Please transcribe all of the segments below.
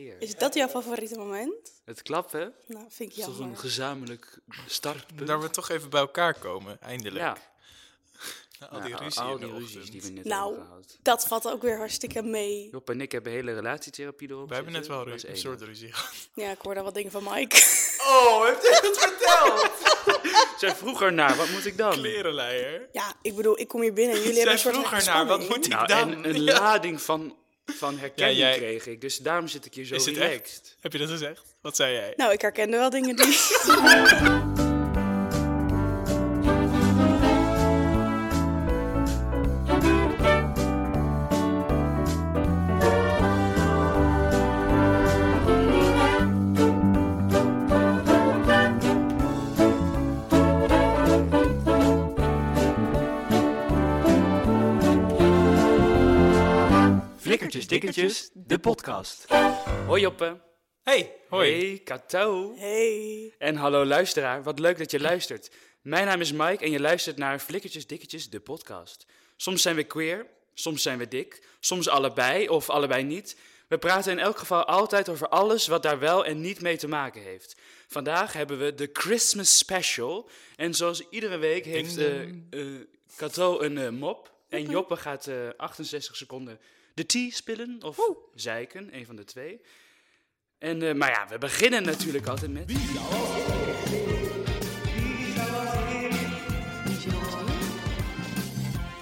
Heer. Is dat jouw favoriete moment? Het klappen Nou, vind ik is toch een jammer. gezamenlijk startpunt. Daar we toch even bij elkaar komen, eindelijk. ja, Na al die Nou, ruzie al in de die ruzies ochtend. die we net Nou. hebben gehad. Dat valt ook weer hartstikke mee. Job en ik hebben hele relatietherapie erop We hebben net zitten. wel Dat is ru- een één. soort ruzie gehad. Ja, ik hoorde wat dingen van Mike. Oh, heeft hij dat verteld? Zij vroeg ernaar, wat moet ik dan? Klerenleier. Ja, ik bedoel, ik kom hier binnen en jullie hebben Zij een soort vroeg ernaar, spanning. wat moet ik Nou, dan? en een Ja. lading van, van herkenning Ja, jij- kreeg ik. Dus daarom zit ik hier zo Is het echt? relaxed. Heb je dat gezegd? Wat zei jij? Nou, ik herkende wel dingen die... Flikkertjes, dikkertjes, de podcast. Hoi Joppe. Hey, hoi. Hey, Katou. Hey. En hallo luisteraar, wat leuk dat je luistert. Mijn naam is Mike en je luistert naar Flikkertjes, dikkertjes, de podcast. Soms zijn we queer, soms zijn we dik, soms allebei of allebei niet. We praten in elk geval altijd over alles wat daar wel en niet mee te maken heeft. Vandaag hebben we de Christmas Special. En zoals iedere week heeft eh eh, Kato een eh, mop. En Joppe gaat eh, 68 seconden de tea spillen of zeiken, een van de twee. En, eh, maar ja, we beginnen natuurlijk altijd met...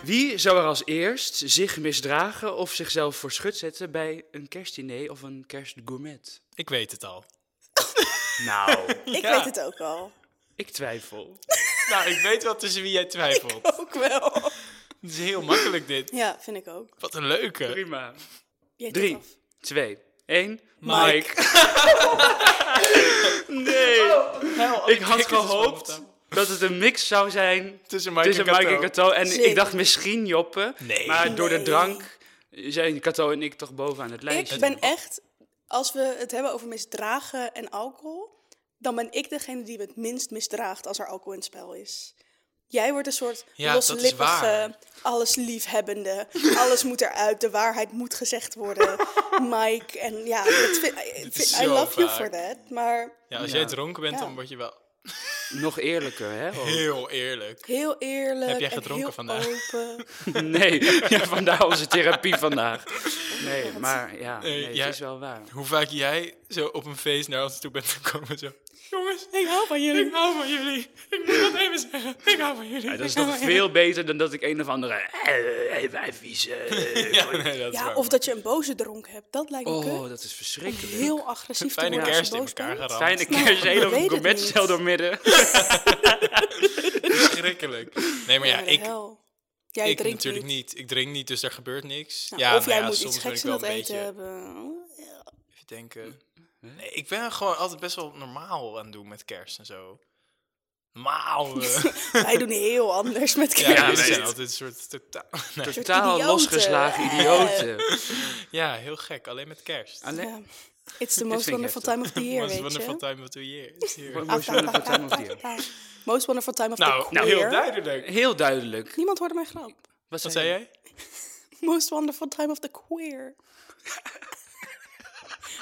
Wie zou er als eerst zich misdragen of zichzelf voor schut zetten bij een kerstdiner of een kerstgourmet? Ik weet het al. Nou, Ik Ja. weet het ook al. ik twijfel. nou, ik weet wel tussen wie jij twijfelt. Ook wel. Het is heel makkelijk dit. Ja, vind ik ook. Wat een leuke. Prima. Jij doet Drie, af. twee, één. Mike. nee, ik had kikkers is gehoopt van dat het een mix zou zijn Tussen Mike tussen en Mike Kato. en Kato. En ik Zeker. dacht misschien Joppe, Nee. maar door de Nee. drank zijn Kato en ik toch bovenaan het lijstje. Ik ben echt... Als we het hebben over misdragen en alcohol... dan ben ik degene die het minst misdraagt als er alcohol in het spel is. Jij wordt een soort Ja, dat is loslippige, waar. alles liefhebbende. Alles moet eruit, de waarheid moet gezegd worden. Mike, en ja, dat vind- I, is I zo love you vaak. for that. Maar Ja, als Ja. jij dronken bent, Ja. dan word je wel Nog eerlijker, hè? ook. heel eerlijk. Heel eerlijk. Heb jij en gedronken heel vandaag? Open. Nee, ja, vandaar onze therapie vandaag. Nee, maar ja, nee, jij- het is wel waar. Hoe vaak jij zo op een feest naar ons toe bent gekomen zo... Jongens, Ik hou van jullie. ik hou van jullie. Ik moet dat even zeggen. Ik hou van jullie. Ja, dat is nog veel beter dan dat ik een of andere... eh, eh, wij vieze, eh, Ja, nee, dat is Ja, waar. of dat je een boze dronk hebt. Dat lijkt me Oh, kut. dat is verschrikkelijk. Heel agressief te Fijne worden als je kerst in boos elkaar bent. geramd. Fijne Nou, kerst, ik heel weet het een niet. bedstel doormidden. Verschrikkelijk. Nee, maar ja, de ik, hel. Jij ik drinkt natuurlijk niet. Ik drink niet, dus daar gebeurt niks. Nou, ja, of jij nou ja, moet soms iets ben geks in ik wel dat een eten beetje- hebben. Even denken. Nee, ik ben gewoon altijd best wel normaal aan het doen met kerst en zo. Normaal. eh. Wij doen heel anders met ja, kerst. ja, nee, we zijn het- altijd een soort totaal... Nee. Totaal idioten. losgeslagen idioten. Ja, heel gek. Alleen met kerst. Alleen... Ja. It's the vind most ik wonderful heftig. time of the year, Most weet wonderful je. time of the year. is here. Wat moest je nou voor time of the year? Most wonderful time of the Nou, queer. heel duidelijk. Heel duidelijk. Niemand hoorde mijn grap. Wat Wat zei jij? Most wonderful time of the queer.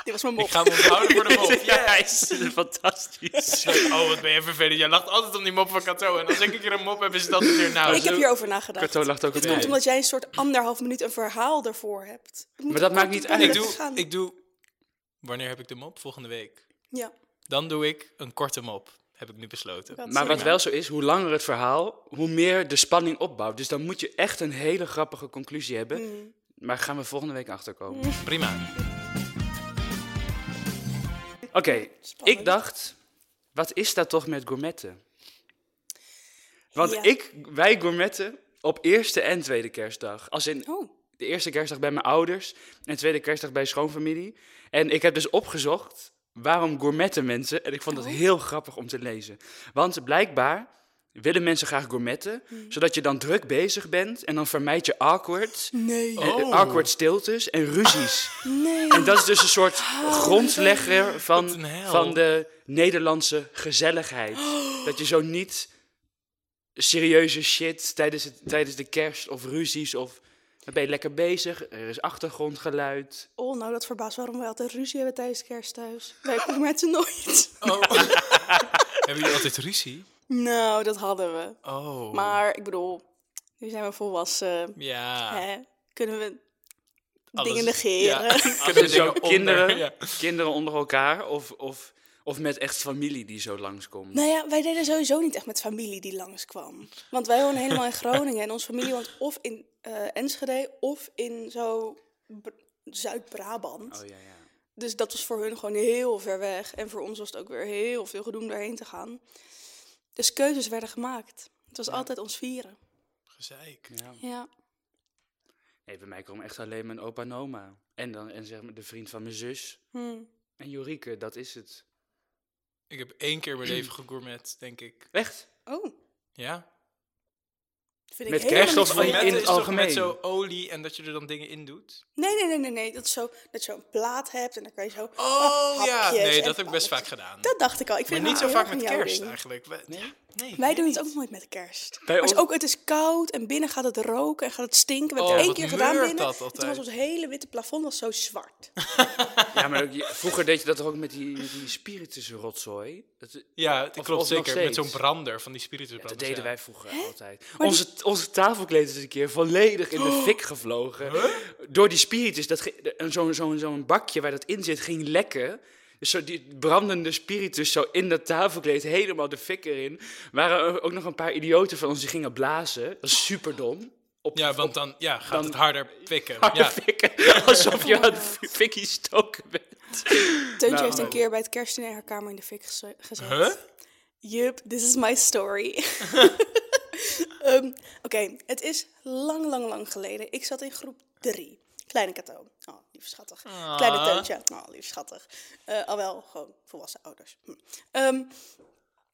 Dit was mijn mop. Ik ga hem onthouden voor de mop. Ja, hij is fantastisch. Oh, wat ben je vervelend. Jij lacht altijd om die mop van Kato. En als ik een keer een mop heb, is dat het weer nou. Ik heb hierover nagedacht. Kato lacht ook Het op komt mij. omdat jij een soort anderhalf minuut een verhaal ervoor hebt. Het moet Maar dat ook maakt niet altijd uit. Ik met doe, gaan. ik doe... Wanneer heb ik de mop? Volgende week. Ja, Dan doe ik een korte mop. Heb ik nu besloten. dat Maar zie wat ik. wel zo is, hoe langer het verhaal, hoe meer de spanning opbouwt. Dus dan moet je echt een hele grappige conclusie hebben. Mm. Maar gaan we volgende week achterkomen. Prima. Oké, Spannend. ik dacht, wat is dat toch met gourmetten? Want Ja. ik, wij gourmetten op eerste en tweede kerstdag. Als in Oh, de eerste kerstdag bij mijn ouders en tweede kerstdag bij schoonfamilie. En ik heb dus opgezocht waarom gourmetten mensen. En ik vond dat Oh. heel grappig om te lezen. Want blijkbaar willen mensen graag gourmetten, Hmm. zodat je dan druk bezig bent en dan vermijd je awkward, nee. eh, Oh. awkward stiltes en ruzies. Nee. En dat is dus een soort grondlegger Wat een van, hel. van de Nederlandse gezelligheid. Dat je zo niet serieuze shit tijdens, het, tijdens de kerst of ruzies of Dan ben je lekker bezig, er is achtergrondgeluid. Oh, nou, dat verbaast waarom wij altijd ruzie hebben tijdens kerst thuis. Wij komen met z'n nooit. Oh. Hebben jullie altijd ruzie? Nou, dat hadden we. Oh. Maar ik bedoel, nu zijn we volwassen. Ja. Hè? Kunnen we Alles- dingen negeren? Ja. Als er zo Dingen onder, kinderen, ja. kinderen onder elkaar of, of, of met echt familie die zo langskomt. Nou ja, wij deden sowieso niet echt met familie die langskwam. Want wij wonen helemaal in Groningen en onze familie woont of in eh, Enschede of in zo Br- Zuid-Brabant. Oh ja, ja. Dus dat was voor hun gewoon heel ver weg. En voor ons was het ook weer heel veel gedoe om daarheen te gaan. Dus keuzes werden gemaakt. Het was altijd ons vieren. Gezeik. ja. Ja. Nee, bij mij komen echt alleen mijn opa en oma. En, dan, en zeg maar de vriend van mijn zus. Hm. En Jorike, dat is het. Ik heb één keer mijn leven gegourmet, denk ik. Echt? Oh, Ja. vind ik Met helemaal kerst niet of zo in- in het leuk. Gourmetten is toch algemeen. Met zo olie en dat je er dan dingen in doet. Nee, nee, nee, nee, nee. Dat, zo, dat je zo'n plaat hebt en dan kan je zo... Oh hapjes ja. en Nee, dat heb ik pannetjes. best vaak gedaan. Dat dacht ik al. Ik maar vind niet het zo wel vaak heel met erg jouw kerst ding. eigenlijk. We- ja, nee. Wij doen het ook nooit met kerst. Bij Maar het is ons- ook, het is koud en binnen gaat het roken en gaat het stinken. We Oh, hebben het één wat keer gedaan meurt binnen. dat en toen altijd. was ons hele witte plafond was zo zwart. Ja, maar ook je- vroeger deed je dat toch ook met die, met die spiritus rotzooi? Dat, Ja, dat Of- klopt of nog zeker. Met steeds. zo'n brander van die spiritusbrander. dat deden wij vroeger altijd. die- Onze, onze tafelkleed is een keer volledig in de fik gevlogen. Door die spiritus. Dat ge- de- en zo'n zo'n zo'n bakje waar dat in zit ging lekken. Dus zo die brandende spiritus zo in dat tafelkleed, helemaal de fik erin. Waren er ook nog een paar idioten van ons die gingen blazen. Dat is super dom. Op, Ja, want dan ja, gaat Dan- het harder pikken. harde Ja. fikken. Alsof je aan het fikkie stoken bent. Teuntje Nou. heeft een keer bij het kerstdiner haar kamer in de fik geze- gezet. Huh? Yup, this is my story. Ehm, Oké, het is lang, lang, lang geleden. Ik zat in groep 3. Kleine cadeau. Oh, lief schattig. Kleine teuntje. Oh, lief schattig. Eh al wel, gewoon volwassen ouders. Hm. Ehm,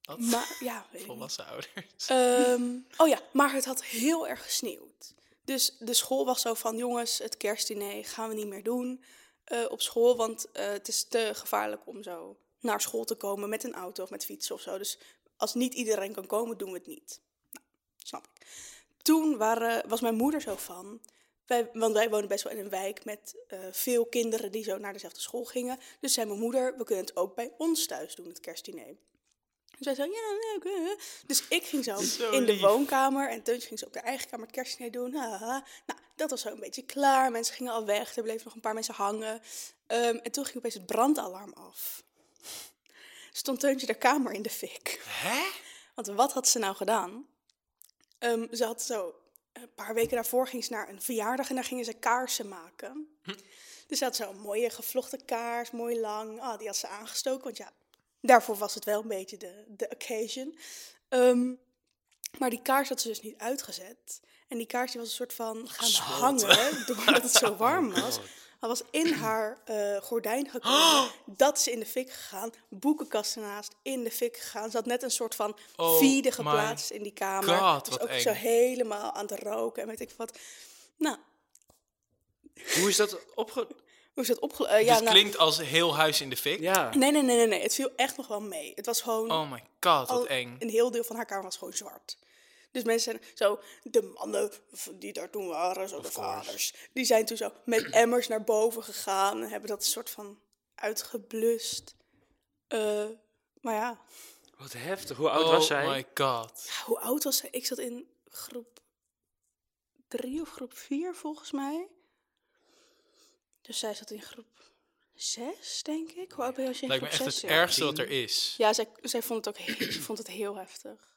Wat? maar ja, weet ik niet. Volwassen ouders. Ehm, oh ja, maar het had heel erg gesneeuwd. Dus de school was zo van, jongens, het kerstdiner gaan we niet meer doen eh, op school. Want eh, het is te gevaarlijk om zo naar school te komen met een auto of met fiets of zo. Dus als niet iedereen kan komen, doen we het niet. Nou, snap ik. Toen waren, was mijn moeder zo van, wij, want wij wonen best wel in een wijk met eh, veel kinderen die zo naar dezelfde school gingen. Dus zei mijn moeder, we kunnen het ook bij ons thuis doen, het kerstdiner. Dus wij zei, ja, leuk. eh. Dus ik ging zo, Zo in de lief. woonkamer. En Teuntje ging ze op haar eigen kamer het kerstdiner doen. haha. Nou, dat was zo een beetje klaar. Mensen gingen al weg. Er bleven nog een paar mensen hangen. Ehm, en toen ging opeens het brandalarm af. Stond Teuntje de kamer in de fik. Hè? Want wat had ze nou gedaan? Ehm, ze had zo, een paar weken daarvoor ging ze naar een verjaardag en daar gingen ze kaarsen maken. Hm. Dus ze had zo'n mooie gevlochten kaars, mooi lang. Ah, die had ze aangestoken, want ja, daarvoor was het wel een beetje de, de occasion. Ehm, maar die kaars had ze dus niet uitgezet. En die kaars die was een soort van gaan hangen, doordat het Oh zo warm was. Hij was in haar eh, gordijn gekomen. Dat is in de fik gegaan. Boekenkasten naast, in de fik gegaan. Ze had net een soort van Oh vide my geplaatst in die kamer. God, was wat ook zo eng. helemaal aan het roken en weet ik wat. Nou, Hoe is dat opge... hoe is dat opgelopen? ja, nou, Dit Dus klinkt als heel huis in de fik. Ja. nee, nee, nee, nee, nee. Het viel echt nog wel mee. Het was gewoon... Oh my god, wat al- eng. Een heel deel van haar kamer was gewoon zwart. Dus mensen zijn zo, de mannen v- die daar toen waren, zo de vaders, die zijn toen zo met emmers naar boven gegaan en hebben dat een soort van uitgeblust. Eh, maar ja, Wat heftig. Hoe oud Oh was zij? my god. hoe oud was zij? Ik zat in groep drie of groep vier volgens mij. Dus zij zat in groep zes, denk ik. Hoe oud ben je als je in Lijkt me groep echt het zes zit? ergste wat er is. Ja, zij, zij vond het ook heel, vond het heel heftig.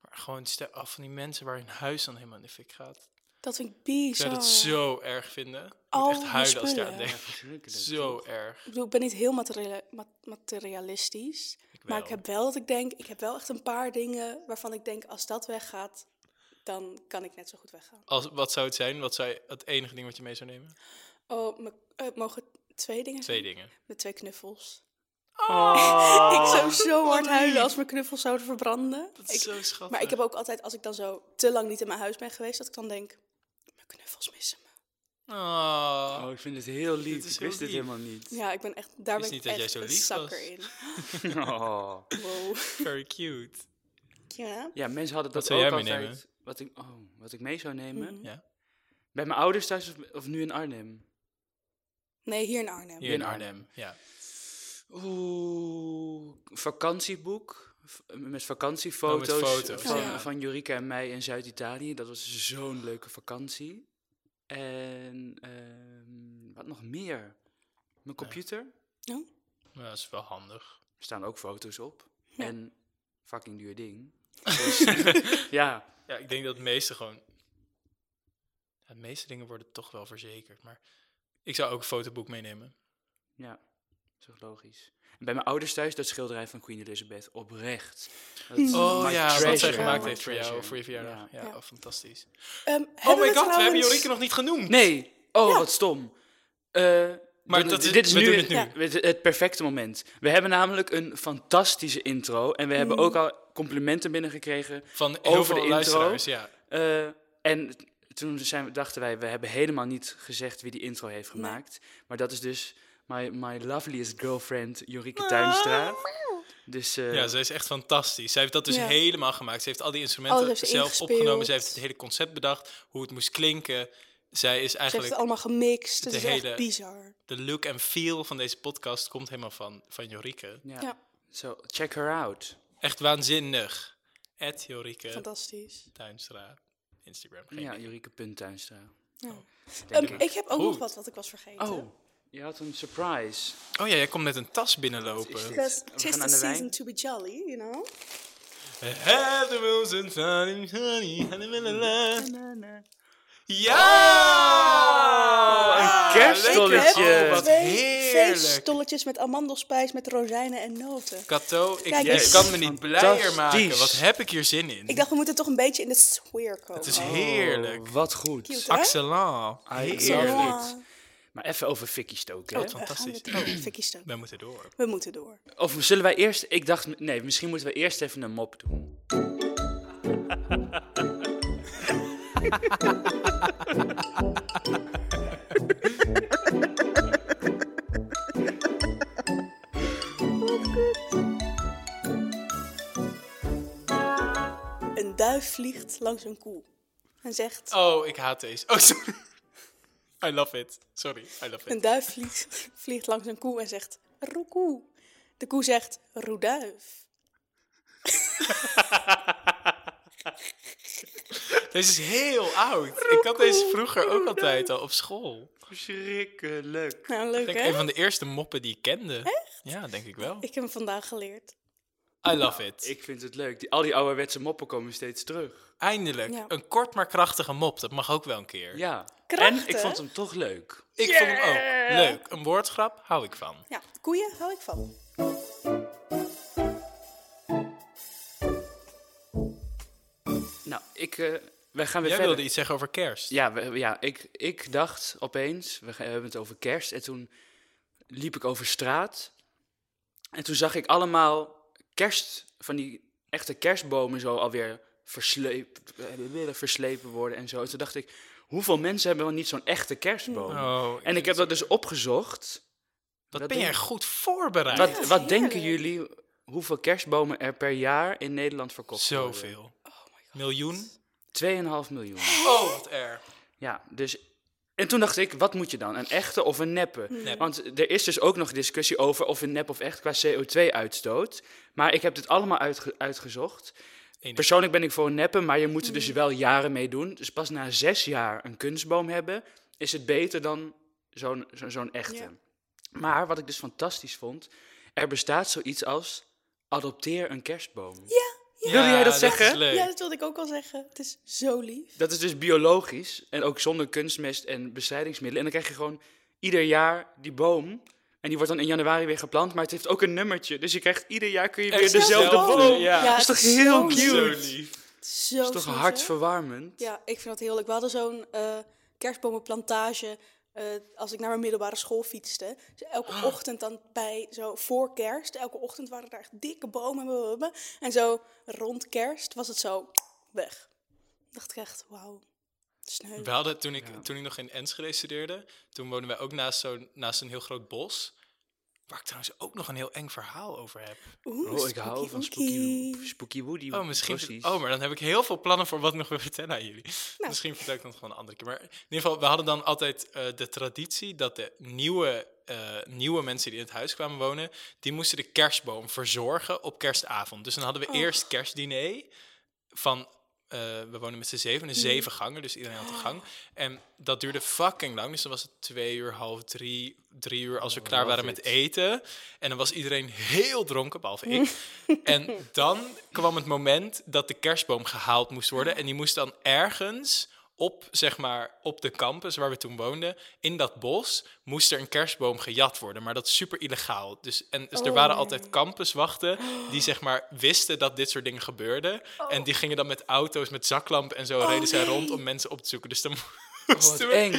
Maar gewoon stel af van die mensen waar hun huis dan helemaal in de fik gaat. Dat vind ik Ik bizar. zou dat zo erg vinden. Ik moet Al echt die huilen als ik eraan spullen. denk. Ja, verschrikkelijk. Zo erg. Ik bedoel, ik ben niet heel materia- ma- materialistisch. maar wel. ik heb wel dat ik denk, ik heb wel echt een paar dingen waarvan ik denk, als dat weggaat, dan kan ik net zo goed weggaan. Als, wat zou het zijn? Wat zou je- het enige ding wat je mee zou nemen? Oh, me- eh, mogen twee dingen Twee zijn? dingen. Met twee knuffels. Oh. ik zou zo hard lief. huilen als mijn knuffels zouden verbranden. Dat is Ik- zo schattig. maar ik heb ook altijd, als ik dan zo te lang niet in mijn huis ben geweest, dat ik dan denk, mijn knuffels missen me. Oh. Oh, ik vind het heel lief. Dit is ik heel wist dit lief. helemaal niet. Ja, ik ben echt, daar Wist ben ik niet dat jij echt zo een lief zakker was. in. Oh. Wow. Very cute. Ja. Ja, mensen hadden dat Wat zou ook jij altijd. meenemen? Mhm. Wat ik, oh, wat ik mee zou nemen? Ja. Bij mijn ouders thuis of, of nu in Arnhem? Nee, hier in Arnhem. Hier in Arnhem, ja. Oeh, vakantieboek. v- Met vakantiefoto's, Oh, met Oh, foto's, van, ja. van Jurika en mij in Zuid-Italië. Dat was zo'n leuke vakantie. En ehm, wat nog meer? Mijn computer. Ja, Dat is wel handig. Er staan ook foto's op. Ja. En fucking duur ding. Dus, ja, Ja, ik denk dat het meeste gewoon... Ja, de meeste dingen worden toch wel verzekerd, maar... Ik zou ook een fotoboek meenemen. ja, zo logisch. En bij mijn ouders thuis dat schilderij van Queen Elizabeth oprecht. Dat Oh my ja, wat zij treasure, gemaakt my heeft voor jou, treasure. voor je verjaardag. Ja. Ja, Ja. oh, fantastisch. Ehm, Oh hebben my we god, we hebben trouwens- Jorike nog niet genoemd. Nee, oh Ja. wat stom. Eh, Maar dit, dat is- dit is we nu, doen het nu. Ja. het, het perfecte moment. We hebben namelijk een fantastische intro. Mm. En we hebben ook al complimenten binnengekregen. Van heel Over veel de intro. luisteraars, ja. Eh, en toen zijn, we- dachten wij, we hebben helemaal niet gezegd wie die intro heeft gemaakt. Maar dat is dus my, my loveliest girlfriend Jorike Tuinstra. Dus eh, Ja, zij is echt fantastisch. Zij heeft dat dus Ja. helemaal gemaakt. Ze heeft al die instrumenten Alles heeft ze zelf ingespeeld. opgenomen. Zij heeft het hele concept bedacht, hoe het moest klinken. Zij is Ze heeft eigenlijk het allemaal gemixt. Het de is hele- echt bizar. de look en feel van deze podcast komt helemaal van, van Jorike. ja. Ja. Zo, check her out. Echt waanzinnig. At Jorike Fantastisch. Tuinstra. Instagram. Geen Ja, idee. Jorike.tuinstra. Ja. Denk Ehm, ik. ik heb ook nog Goed. wat wat ik was vergeten. Oh, je had een surprise. Oh ja, jij komt met een tas Wat is binnenlopen. dit? Because We gaan tis aan the de wijn. season to be jolly, you know? Have the wheels and sunny, sunny, la-la-la-la. Ja! een kerststolletje. Ik heb Ah, Oh, wat twee, twee heerlijk. stolletjes met amandelspijs met rozijnen en noten. Kato, ik, Kijk ik eens. kan me niet blijer Fantastisch. maken. Wat heb ik hier zin in? Ik dacht, we moeten toch een beetje in de sfeer komen. Het is heerlijk. Oh, wat goed. Cute, hè? Axelan. Heerlijk. Maar even over fikkie stoken. hè? Oh, fantastisch. Fantastisch. Fikkie stoken. We moeten door. We moeten door. Of zullen wij eerst... Ik dacht, nee, misschien moeten we eerst even een mop doen. Een duif vliegt langs een koe en zegt... Oh, ik haat deze. Oh, sorry. I love it. Sorry, I love it. Een duif vliegt, vliegt langs een koe en zegt... Roekoe. De koe zegt... Roeduif. Deze is heel oud. Ik had deze vroeger ook altijd al op school. Verschrikkelijk. Nou, leuk Ik denk hè? een van de eerste moppen die ik kende. Echt? Ja, denk ik wel. Ik heb hem vandaag geleerd. I love it. Ik vind het leuk. Die, al die ouderwetse moppen komen steeds terug. Eindelijk. Ja. Een kort maar krachtige mop. Dat mag ook wel een keer. Ja. Krachtig, En ik hè? vond hem toch leuk. Ik vond hem ook leuk. Een woordgrap hou ik van. Ja, koeien hou ik van. Nou, ik... eh, wij gaan weer Jij verder. wilde iets zeggen over kerst. Ja, we- ja ik, ik dacht opeens, we gaan- we hebben het over kerst. En toen liep ik over straat. En toen zag ik allemaal kerst, van die echte kerstbomen zo alweer versleep, eh, verslepen worden en zo. En toen dacht ik, hoeveel mensen hebben wel niet zo'n echte kerstboom? Oh, En ik heb dat dus opgezocht. Wat dat ben jij ding- goed voorbereid. Wat, Ja, wat denken heerlijk. jullie hoeveel kerstbomen er per jaar in Nederland verkocht worden? Zoveel. Miljoen? 2,5 miljoen. Oh, wat erg. Ja, dus. En toen dacht ik, wat moet je dan? Een echte of een neppe? Nep. Want er is dus ook nog discussie over of een nep of echt qua CO2-uitstoot. Maar ik heb dit allemaal uitge- uitgezocht. Enig. Persoonlijk ben ik voor een neppe, maar je moet er dus wel jaren mee doen. Dus pas na zes jaar een kunstboom hebben, is het beter dan zo'n zo- zo'n echte. Ja. Maar wat ik dus fantastisch vond, er bestaat zoiets als adopteer een kerstboom. Wilde jij dat is zeggen? leuk. Ja, dat wilde ik ook al zeggen. Het is zo lief. Dat is dus biologisch en ook zonder kunstmest en bestrijdingsmiddelen. En dan krijg je gewoon ieder jaar die boom. En die wordt dan in januari weer geplant, maar het heeft ook een nummertje. Dus je krijgt ieder jaar kun je weer Exact. dezelfde Dezelfde, boom. ja. Dat is het toch is heel zo lief. cute? Zo lief. Het is Zo Dat is toch sweet, hè? hartverwarmend? Ja, ik vind dat heel leuk. We hadden zo'n eh, kerstbomenplantage eh, als ik naar mijn middelbare school fietste. Dus elke Ah. ochtend dan bij, zo voor kerst, elke ochtend waren daar echt dikke bomen. blablabla. En zo rond kerst was het zo weg. Dacht ik echt, wauw, sneu. We hadden, toen ik, toen ik nog in Enschede studeerde, toen woonden wij ook naast, zo'n naast een heel groot bos. Waar ik trouwens ook nog een heel eng verhaal over heb. Oeh, Oh, ik hou van Spooky, wookie. spooky Woody. Oh, misschien. Precies. Oh, maar dan heb ik heel veel plannen voor wat ik nog wil vertellen aan jullie. Misschien vertel ik dat gewoon een andere keer. Maar in ieder geval, we hadden dan altijd eh, de traditie dat de nieuwe, eh, nieuwe mensen die in het huis kwamen wonen, die moesten de kerstboom verzorgen op kerstavond. Dus dan hadden we Oh. eerst kerstdiner van. eh, we wonen met z'n zeven, dus zeven gangen, dus iedereen had een gang. En dat duurde fucking lang, dus dan was het twee uur, half drie, drie uur als we klaar love waren it. met eten. En dan was iedereen heel dronken, behalve ik. En dan kwam het moment dat de kerstboom gehaald moest worden. En die moest dan ergens op, zeg maar, op de campus waar we toen woonden, in dat bos, moest er een kerstboom gejat worden. Maar dat is super illegaal. Dus, en, dus er Oh, waren nee. altijd campuswachten die, zeg maar, wisten dat dit soort dingen gebeurden. En die gingen dan met auto's, met zaklampen en zo, Oh, reden zij nee. rond om mensen op te zoeken. Dus dan Oh, moesten wat we... eng.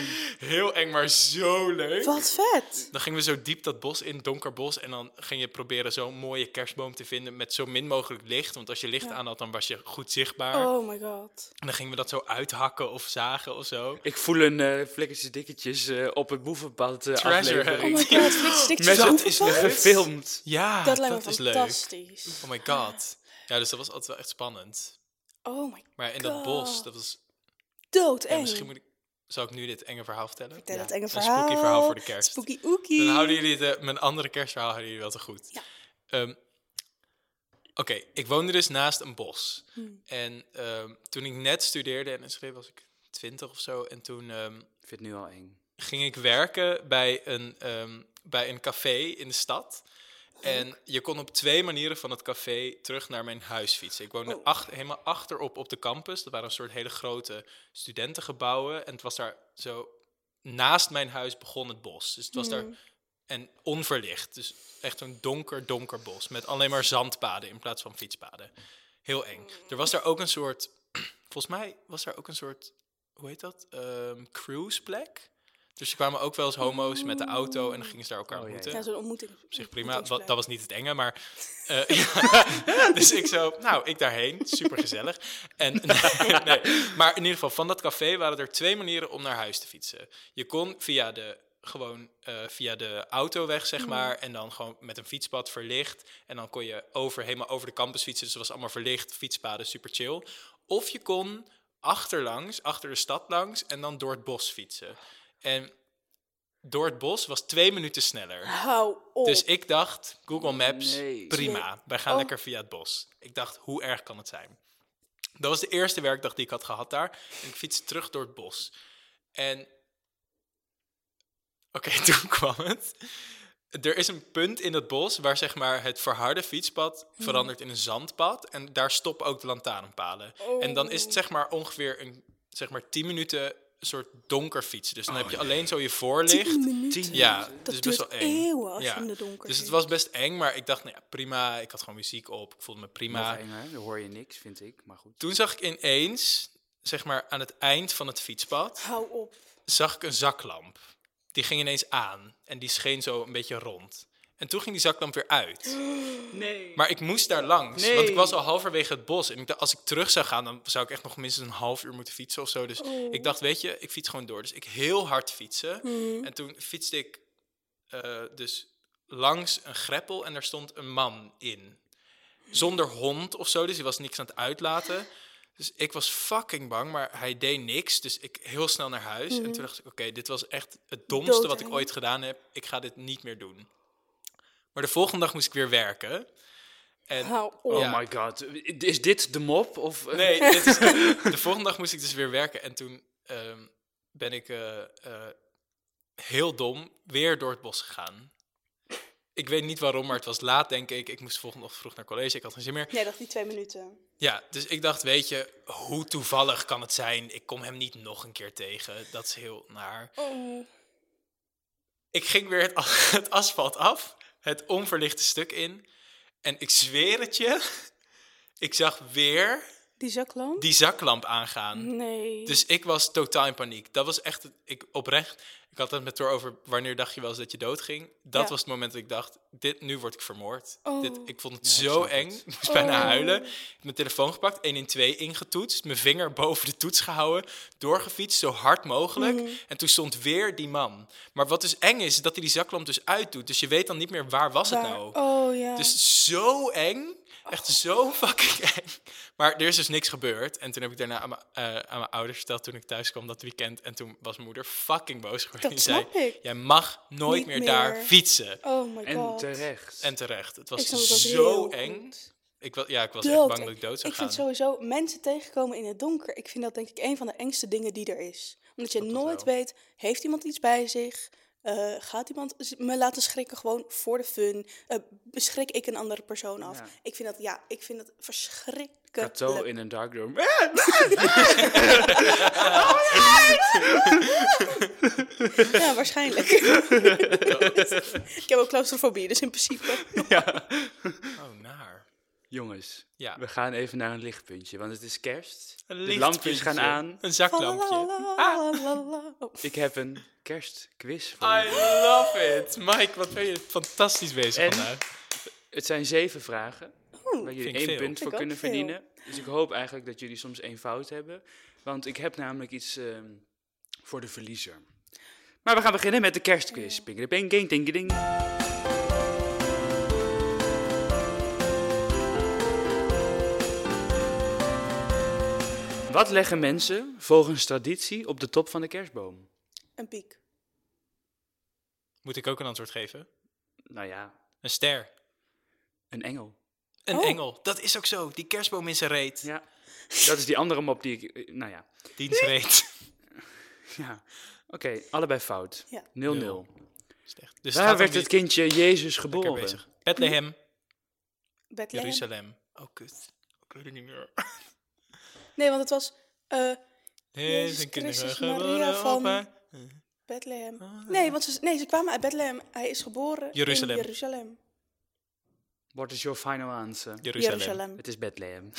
Heel eng, maar zo leuk. Wat vet. Dan gingen we zo diep dat bos in, donker bos. En dan ging je proberen zo'n mooie kerstboom te vinden met zo min mogelijk licht. Want als je licht aan had, dan was je goed zichtbaar. Oh my god. En dan gingen we dat zo uithakken of zagen of zo. Ik voel een eh flikkertjes dikketjes eh, op het boevenpad eh Treasure Oh aflevering. my god, Frits Dikkie Met Dat dat Zoeterpad? is is leuk. gefilmd. Ja, Dat dat, lijkt me is leuk. fantastisch. Oh my god. Ja, dus dat was altijd wel echt spannend. Oh my Maar in dat bos, dat was... dood Ja, eng. misschien moet ik... Zal ik nu dit enge verhaal vertellen? Vertel Ja, het enge een verhaal. spooky verhaal voor de kerst. Spooky ookie. Dan houden jullie de, mijn andere kerstverhaal houden jullie wel te goed. Ja. Ehm, Oké, ik woonde dus naast een bos. Hmm. En ehm, toen ik net studeerde en schreef was ik twintig of zo. En toen ehm, Ik vind het nu al eng. ging ik werken bij een, ehm, bij een café in de stad. En je kon op twee manieren van het café terug naar mijn huis fietsen. Ik woonde Oh. ach- helemaal achterop op de campus. Dat waren een soort hele grote studentengebouwen. En het was daar zo... Naast mijn huis begon het bos. Dus het was daar... En onverlicht. Dus echt een donker, donker bos. Met alleen maar zandpaden in plaats van fietspaden. Heel eng. Er was daar ook een soort... Volgens mij was daar ook een soort... Hoe heet dat? Ehm, cruiseplek. Dus er kwamen ook wel eens homo's met de auto... en dan gingen ze daar elkaar Oh, ja, ja. ontmoeten Ja, zo'n ontmoeting. op zich prima. Wa- dat was niet het enge, maar. eh, ja. Dus ik zo, nou, ik daarheen. Super gezellig. En, nee, nee. Maar in ieder geval, van dat café waren er twee manieren om naar huis te fietsen. Je kon via de, gewoon, eh, via de autoweg, zeg maar. En dan gewoon met een fietspad verlicht. En dan kon je over, helemaal over de campus fietsen. Dus het was allemaal verlicht, fietspaden, super chill. Of je kon achterlangs, achter de stad langs. En dan door het bos fietsen. En door het bos was twee minuten sneller. Hou op. Dus ik dacht, Google Maps, Nee. prima. Wij gaan Oh. lekker via het bos. Ik dacht, hoe erg kan het zijn? Dat was de eerste werkdag die ik had gehad daar. En ik fietste terug door het bos. En... Oké, toen kwam het. Er is een punt in het bos waar zeg maar, het verharde fietspad Hm. verandert in een zandpad. En daar stoppen ook de lantaarnpalen. En dan Oh. is het zeg maar, ongeveer een, zeg maar, 10 minuten een soort donker fietsen. Dus dan heb je alleen zo je voorlicht. Oh, Tien minuten. Tien Ja, minuten. dus Dat best duurt wel eng. eeuwen als ja. je in de donker Dus het zit. was best eng, maar ik dacht, nou ja, prima. Ik had gewoon muziek op, ik voelde me prima. Nog enger, dan hoor je niks, vind ik. Maar goed. Toen zag ik ineens, zeg maar aan het eind van het fietspad, Hou op. zag ik een zaklamp. Die ging ineens aan en die scheen zo een beetje rond. En toen ging die zaklamp weer uit. Nee. Maar ik moest daar langs, want ik Nee. was al halverwege het bos. En ik dacht, als ik terug zou gaan, dan zou ik echt nog minstens een half uur moeten fietsen of zo. Dus Oh. ik dacht, weet je, ik fiets gewoon door. Dus ik heel hard fietsen. Hmm. En toen fietste ik eh, dus langs een greppel en daar stond een man in. Zonder hond of zo, dus hij was niks aan het uitlaten. Dus ik was fucking bang, maar hij deed niks. Dus ik heel snel naar huis. En Hmm. toen dacht ik, oké, dit was echt het domste wat ik Doodeng. ooit gedaan heb. Ik ga dit niet meer doen. Maar de volgende dag moest ik weer werken. En Hou op. Oh Ja. my god. Is dit de mop? Of, eh, Nee, dit is- de volgende dag moest ik dus weer werken. En toen ehm, ben ik eh, eh, heel dom weer door het bos gegaan. Ik weet niet waarom, maar het was laat, denk ik. Ik moest de volgende ochtend vroeg naar college. Ik had geen zin meer. Jij dacht die twee minuten. Ja, dus ik dacht, weet je, hoe toevallig kan het zijn? Ik kom hem niet nog een keer tegen. Dat is heel naar. Oh. Ik ging weer het, as- het asfalt af, het onverlichte stuk in. En ik zweer het je, ik zag weer Die zaklamp? die zaklamp aangaan. Nee. Dus ik was totaal in paniek. Dat was echt, het- ik oprecht, ik had het met Thor over wanneer dacht je wel eens dat je doodging. Dat Ja. was het moment dat ik dacht, dit, nu word ik vermoord. Oh. Dit, ik vond het Ja, ik zo snap eng, het. ik moest bijna Oh. huilen. Ik heb mijn telefoon gepakt, 112 ingetoetst, mijn vinger boven de toets gehouden, doorgefietst zo hard mogelijk. Mhm. En toen stond weer die man. Maar wat dus eng is, is dat hij die zaklamp dus uitdoet. Dus je weet dan niet meer waar was het Waar- nou. Oh ja. Dus zo eng. Echt zo fucking eng. Maar er is dus niks gebeurd. En toen heb ik daarna aan mijn, eh, aan mijn ouders verteld toen ik thuis kwam dat weekend. En toen was mijn moeder fucking boos geworden. Dat Die zei, snap ik. jij mag Niet nooit meer, daar meer." fietsen. oh my En god. terecht. En terecht. Het Ik was snap dat zo heel eng. goed. Ik was, ja, ik was echt Dood. bang dat ik dood zou ik gaan. vind sowieso mensen tegenkomen in het donker. Ik vind dat denk ik een van de engste dingen die er is. Omdat je Klopt dat nooit wel? weet, heeft iemand iets bij zich? Eh, gaat iemand z- me laten schrikken gewoon voor de fun? Eh, beschrik ik een andere persoon af? Ja. Ik vind dat, ja, ik vind dat verschrikkelijk. Kato in een darkroom. Ja, waarschijnlijk. ik heb ook claustrofobie, dus in principe. ja. Oh, naar. Jongens, Ja. we gaan even naar een lichtpuntje, want het is kerst. Een de lampjes gaan lichtpuntje. aan. Een zaklampje. Ah! Valalalalala. Oh, Ik heb een kerstquiz voor I je. love it. Mike, wat ben je fantastisch bezig En? vandaag. Het zijn zeven vragen Oeh, waar jullie vind ik één veel. punt Vind voor ik ook kunnen veel. verdienen. Dus ik hoop eigenlijk dat jullie soms één fout hebben. Want ik heb namelijk iets ehm, voor de verliezer. Maar we gaan beginnen met de kerstquiz. Pingedeping, ding, ding, ding. Wat leggen mensen volgens traditie op de top van de kerstboom? Een piek. Moet ik ook een antwoord geven? Nou ja, Een ster. een engel. Een Oh. engel. Dat is ook zo. Die kerstboom in zijn reet. Ja, dat is die andere mop die ik... eh, Nou ja, Dienstreet. ja. oké, allebei fout. 0-0. Ja. Nul. Slecht. Dus Daar werd het kindje Jezus geboren. Hm? Bethlehem, Bethlehem. Jeruzalem. Oh, kut. Ik weet het niet meer. Nee, want het was eh, Is een Christus, kindergeboren Maria van- opa. Bethlehem. Nee, want ze, nee, ze kwamen uit Bethlehem. Hij is geboren Ah, Jeruzalem. in Jeruzalem. What is your final answer? Jeruzalem. Jeruzalem. Het is Bethlehem.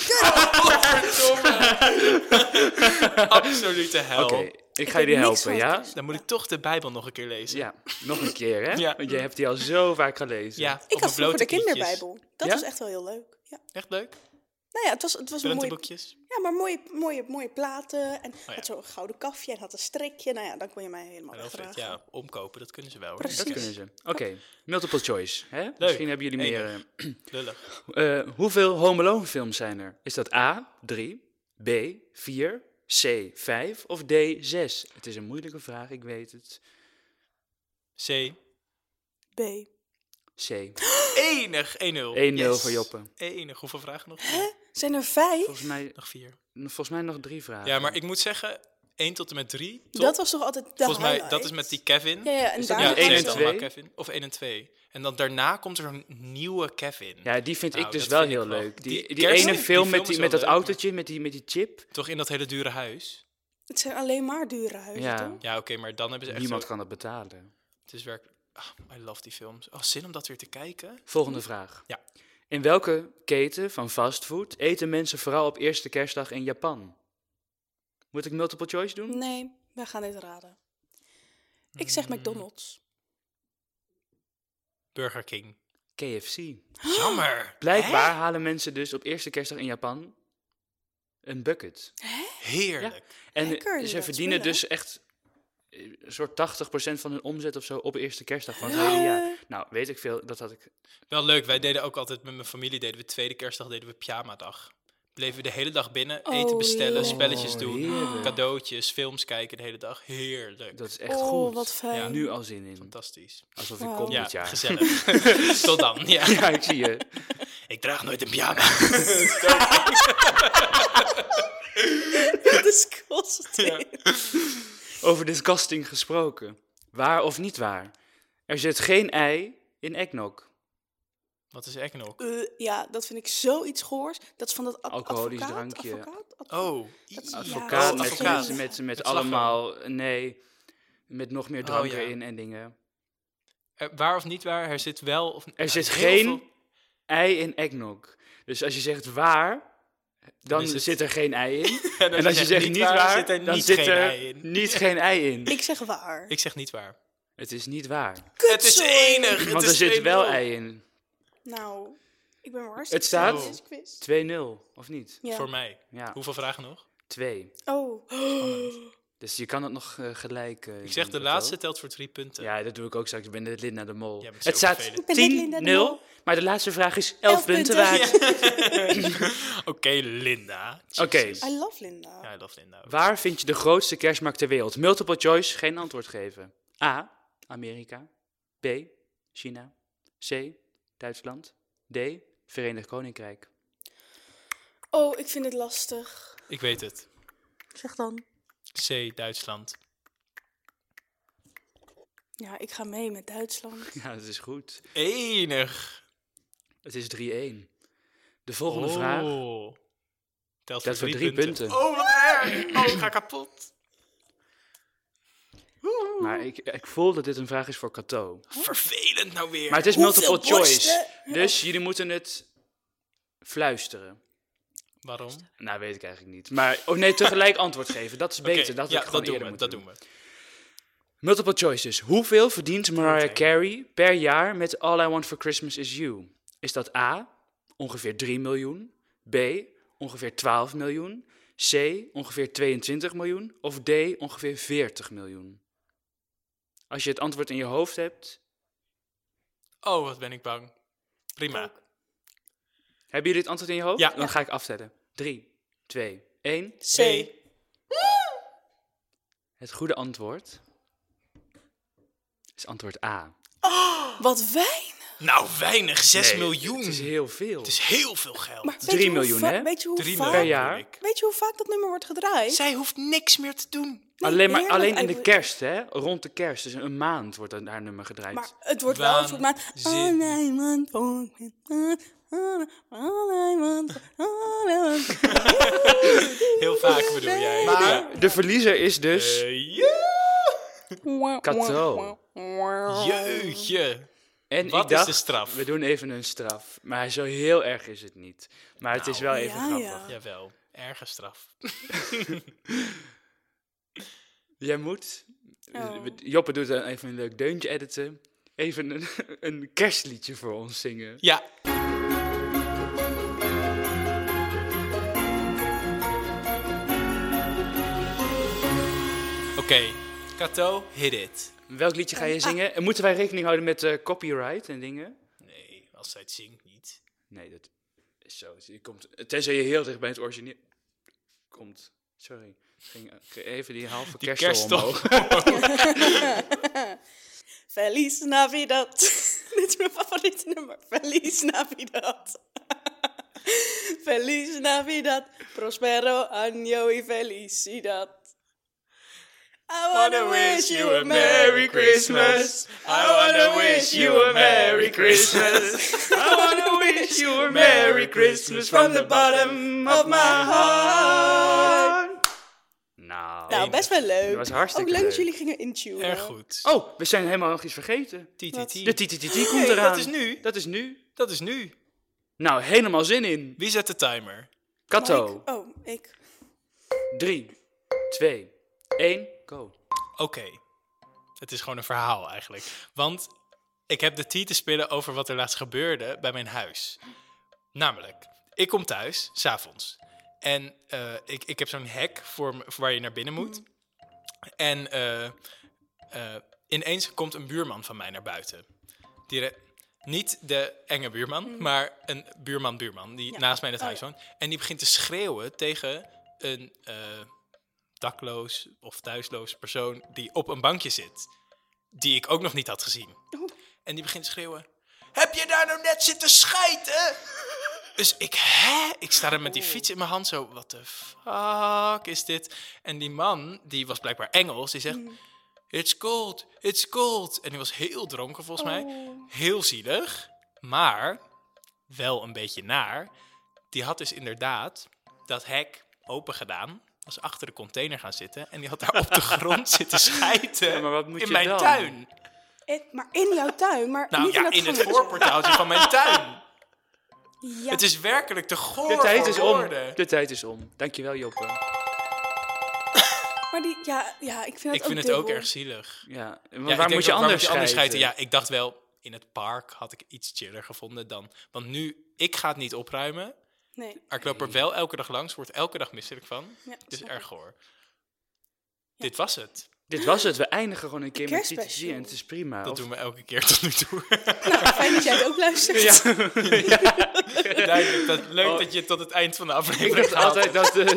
Absolute hel. Oké, ik ga heb jullie niks helpen, van ja? het Dan moet ik toch de Bijbel nog een keer lezen. Ja, nog een keer, hè? Ja. Want jij hebt die al zo vaak gelezen. Ja, op Ik mijn had vroeger de blote knietjes. kinderbijbel. Dat Ja? was echt wel heel leuk. Ja. Echt leuk. Nou ja, het was, het was een mooie, Prentenboekjes. ja, maar mooie, mooie, mooie platen. En Oh ja. had zo'n gouden kafje en had een strikje. Nou ja, dan kon je mij helemaal Hallo, Fred. wegdragen. Ja, omkopen, dat kunnen ze wel. hoor. Precies. Dat kunnen ze. Oké, multiple choice, hè? Leuk. Misschien hebben jullie meer... Lullig. eh, eh, hoeveel Home Alone films zijn er? Is dat A, 3, B, 4, C, 5 of D, 6? Het is een moeilijke vraag, ik weet het. C. B. C, 1-0 Enig. 1-0. 1-0 voor Joppe. Enig. Hoeveel vragen nog? Zijn er vijf? Volgens mij, Nog vier. volgens mij nog drie vragen. Ja, maar ik moet zeggen, 1 tot en met 3. Dat was toch altijd de Volgens mij, highlight? dat is met die Kevin. Ja, ja, en Dus daar ja, niet gaan één twee en ze- dan twee? maar, Kevin. Of 1 en 2. En dan daarna komt er een nieuwe Kevin. Ja, die vind Nou, ik dus dat wel vind ik heel wel. leuk. Die Die, die, kerst- ene die film film met, is die, wel met dat leuk, maar- autootje, met die, met die chip. Toch in dat hele dure huis. Het zijn alleen maar dure huizen, Ja. toch? Ja, oké, maar dan hebben ze echt Niemand zo- kan dat betalen. Het is werkelijk... Ah, I love die films. Oh, zin om dat weer te kijken? Volgende vraag. Ja. In welke keten van fastfood eten mensen vooral op eerste kerstdag in Japan? Moet ik multiple choice doen? Nee, wij gaan dit raden. Ik zeg Hmm. McDonald's. Burger King. KFC. Jammer. Blijkbaar halen mensen dus op eerste kerstdag in Japan een bucket. Heerlijk. En Lekker, ze dat verdienen spullen. dus echt eh, een soort 80% van hun omzet of zo op eerste kerstdag van het hele jaar. Nou, weet ik veel, dat had ik... Wel leuk, wij deden ook altijd met mijn familie, deden we tweede kerstdag, deden we pyjama-dag. Bleven we de hele dag binnen, Oh, eten bestellen, leuk. spelletjes Oh, doen, heerlijk. cadeautjes, films kijken de hele dag. Heerlijk. Dat is echt oh, goed. wat fijn. Ja. Nu al zin in. Fantastisch. Alsof ik Wauw. kom Ja, dit jaar. gezellig. Tot dan. Ja. Ja, ik zie je. Ik draag nooit een pyjama. Dat is constant. Over disgusting gesproken. Waar of niet waar? Er zit geen ei in eggnog. Wat is eggnog? Eh, ja, dat vind ik zoiets goors. Dat is van dat ad- Alcoholisch advocaat, drankje. advocaat, advo- Oh, Dat is- ie. Advocaat Oh, met, advocaat. Met, met, met Met allemaal... Nee, met nog meer drank Oh, ja. erin en dingen. Er- Eh, waar of niet waar, er zit wel of Er Ja, zit heel geen- Ei in eggnog. Dus als je zegt waar, dan is het- zit er geen ei in. En, En als je zegt niet waar, dan niet zit geen er ei in. niet geen ei in. Ik zeg waar. Ik zeg niet waar. Het is niet waar. Het is Kutzooi. enig. het Want er is zit wel 2-0. ei in. Nou, ik ben hartstikke Het staat- slecht in deze quiz. 2-0, of niet? Ja. Oh. Voor mij. Ja, Hoeveel vragen nog? twee. Oh. Dus je kan het nog eh, gelijk. eh, Ik zeg de doen, laatste toch? telt voor drie punten. Ja, dat doe ik ook straks. Ik ben de lid naar de mol. Jij bent zo het staat vervelend. Ik ben net Linda de Mol. 10-0, maar de laatste vraag is 11 Elf punten punten. waard. Oké, Linda. Oké. Jezus. I love Linda. Ja, I love Linda. ook. Waar vind je de grootste kerstmarkt ter wereld? Multiple choice, geen antwoord geven. A. Amerika. B. China. C. Duitsland. D. Verenigd Koninkrijk. Oh, ik vind het lastig. Ik weet het. Zeg dan. C, Duitsland. Ja, ik ga mee met Duitsland. Ja, dat is goed. Enig. Het is 3-1. De volgende vraag. Oh. Telt voor Dat voor drie, drie punten. punten. Oh, wat erg. Oh, ik ga kapot. Maar ik, ik voel dat dit een vraag is voor Cato. Vervelend nou weer. Maar het is Hoeveel multiple choice. borsten? Dus jullie moeten het fluisteren. Waarom? Nou, weet ik eigenlijk niet. Maar, oh nee, tegelijk antwoord geven. Dat is beter. Oké, dat ja, had ik gewoon dat doen eerder we. moeten Dat doen. doen we. Multiple choice dus. Hoeveel verdient Mariah Oké. Carey per jaar met All I Want For Christmas Is You? Is dat A, ongeveer 3 miljoen, B, ongeveer 12 miljoen, C, ongeveer 22 miljoen of D, ongeveer 40 miljoen? Als je het antwoord in je hoofd hebt, Oh, wat ben ik bang. Prima. Ook. hebben jullie het antwoord in je hoofd? Ja. Dan ga ik aftellen. 3, 2, 1. C. Hey. Het goede antwoord is antwoord A. Wat wijn. Nou, weinig. 6 Nee, miljoen. Het is heel veel. Het is heel veel geld. Maar weet Drie je hoe miljoen, va- hè? Weet je, hoe 3 vaak, miljoen Per jaar. bedoel ik. weet je hoe vaak dat nummer wordt gedraaid? Zij hoeft niks meer te doen. Nee, alleen maar, heerlijk alleen in de eigenlijk. kerst, hè? Rond de kerst. Dus een maand wordt dat haar nummer gedraaid. Maar het wordt wel een soort maand. Waanzin. All I want for Christmas, all- all I want for- all I want for- Heel vaak bedoel jij. Maar Ja. de verliezer is dus Eh, ja. Cato. Jeugdje. En Eh, Wat ik is dacht, de straf? we doen even een straf. Maar zo heel erg is het niet. Maar het is Nou. wel even ja, grappig. ja. Jawel, erge straf. Jij moet... Oh. Joppe doet dan even een leuk deuntje editen. Even een, een kerstliedje voor ons zingen. Ja. Oké, Kato, hit it. Welk liedje Eh, ga je ah. zingen? En moeten wij rekening houden met eh, copyright en dingen? Nee, als zij het zingt niet. Nee, dat is zo. Je komt, tenzij je heel dicht bij het origineel komt. Sorry. Ging eh, even die halve Die kerststok kerststol. omhoog. Feliz Navidad. Dit is mijn favoriete nummer. Feliz Navidad. Feliz Navidad. Prospero año y felicidad. I wanna wish you a merry Christmas. I wanna wish you a Merry Christmas. I wanna wish you a Merry Christmas from the bottom of my heart. Nou, Nou, best wel leuk. Dat was hartstikke Ook leuk dat leuk. jullie gingen intunen. Erg goed. Oh, we zijn helemaal nog iets vergeten. TTT. De TTTT komt Hey, eraan. dat is nu. Dat is nu. Dat is nu. Nou, helemaal zin in. Wie zet de timer? Mag Kato. ik- Oh, ik. 3, 2, 1, go. Oké. Het is gewoon een verhaal eigenlijk. Want ik heb de tea te spillen over wat er laatst gebeurde bij mijn huis. Namelijk, ik kom thuis, s'avonds. En eh, ik, ik heb zo'n hek voor, m- voor waar je naar binnen moet. En eh, eh, ineens komt een buurman van mij naar buiten. Die re- niet de enge buurman, maar een buurman-buurman die naast mij in het Oh, huis Mhm. ja. woont. En die begint te schreeuwen tegen een eh, dakloos of thuisloos persoon die op een bankje zit. Die ik ook nog niet had gezien. En die begint te schreeuwen. Heb je daar nou net zitten schijten? Dus ik, hè? Ik sta er met die fiets in mijn hand zo, wat de fuck is dit? En die man, die was blijkbaar Engels, die zegt, Mm. it's cold, it's cold. En die was heel dronken volgens mij. Oh. Heel zielig, maar wel een beetje naar. Die had dus inderdaad dat hek open gedaan, was achter de container gaan zitten en die had daar op de grond zitten schijten Ja, maar wat moet in je mijn dan? tuin. Eh, Maar in jouw tuin, maar Nou niet ja, in, in het voorportaal. voorportaaltje van mijn tuin. Ja. Het is werkelijk te goor De tijd is voor om. woorden. De tijd is om. Dankjewel, Joppe. Maar die, ja, ja, ik vind het Ik ook vind het ook dubbel. erg zielig. Ja, maar Ja, ik waar denk moet je wel, anders schijten? schijten? Ja, ik dacht wel, in het park had ik iets chiller gevonden dan. Want nu, ik ga het niet opruimen, Nee, maar ik loop er wel elke dag langs, word elke dag misselijk van. ja, Het is snap erg ik. hoor. Dit was het. Dit was het. We eindigen gewoon een keer met TTG kerstspecial. en het is prima. Dat of- doen we elke keer tot nu toe. Fijn dat jij het ook luistert. Ja, Duidelijk, dat, leuk Oh. dat je tot het eind van de ik aflevering dacht haalt. altijd dat... eh ik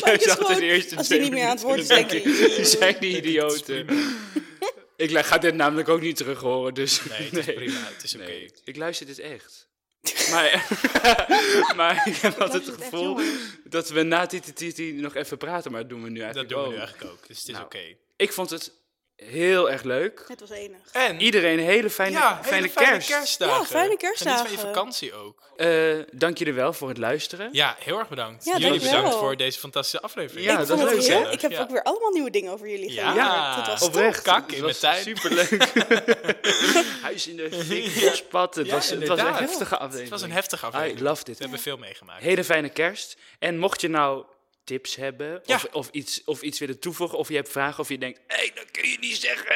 Maar het is luister altijd gewoon, de eerste als twee die niet meer aan het woord is, minuten. denk ik. Die zijn die idioten. Ik la- ga dit namelijk ook niet terug horen, dus... Nee, het is prima, het is oké. Nee, ik luister dit echt. Maar, maar ik heb altijd het gevoel dat we na TTT nog even praten, maar dat doen we nu Dat eigenlijk doen we nu ook. eigenlijk ook, dus het is Nou. oké. Ik vond het heel erg leuk. Het was enig. En, Iedereen hele fijne, ja, hele fijne fijne kerst. kerstdagen. Ja, fijne Geniet van kerstdagen. je vakantie ook. Eh, dank jullie wel voor het luisteren. Ja, heel erg bedankt. Ja, Jullie dankjewel. bedankt voor deze fantastische aflevering. Ja, ik dat vond is het leuk, heel- hè? Ik heb Ja. ook weer allemaal nieuwe dingen over jullie Ja. geleerd. Dat was top. Oprecht. Kak Het in was mijn tuin. Superleuk. Huis in de fik, bospad. Het, Ja, was, het was een inderdaad. heftige afdeling. Het was een heftige aflevering. I Ah, love dit. We hebben veel meegemaakt. Hele fijne kerst. En mocht je nou tips hebben Ja. of, of, iets, of iets willen toevoegen of je hebt vragen of je denkt, hé, hey, dat kun je niet zeggen.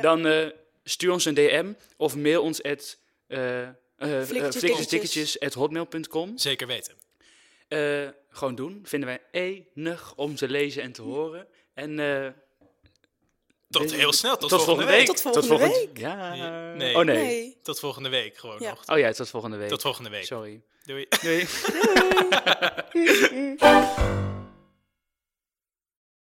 Dan eh, stuur ons een DM of mail ons at eh, eh, eh, Flikkertjes, flikkertjestikkertjes at hotmail.com. Zeker weten. Eh, gewoon doen. Vinden wij enig om te lezen en te horen. En eh, Tot Deze- heel snel, tot, tot volgende week. Tot volgende volgend- week. Ja. Nee. Oh nee. Nee. Tot volgende week gewoon Ja. nog. Oh ja, tot volgende week. Tot volgende week. Sorry. Doei. Doei.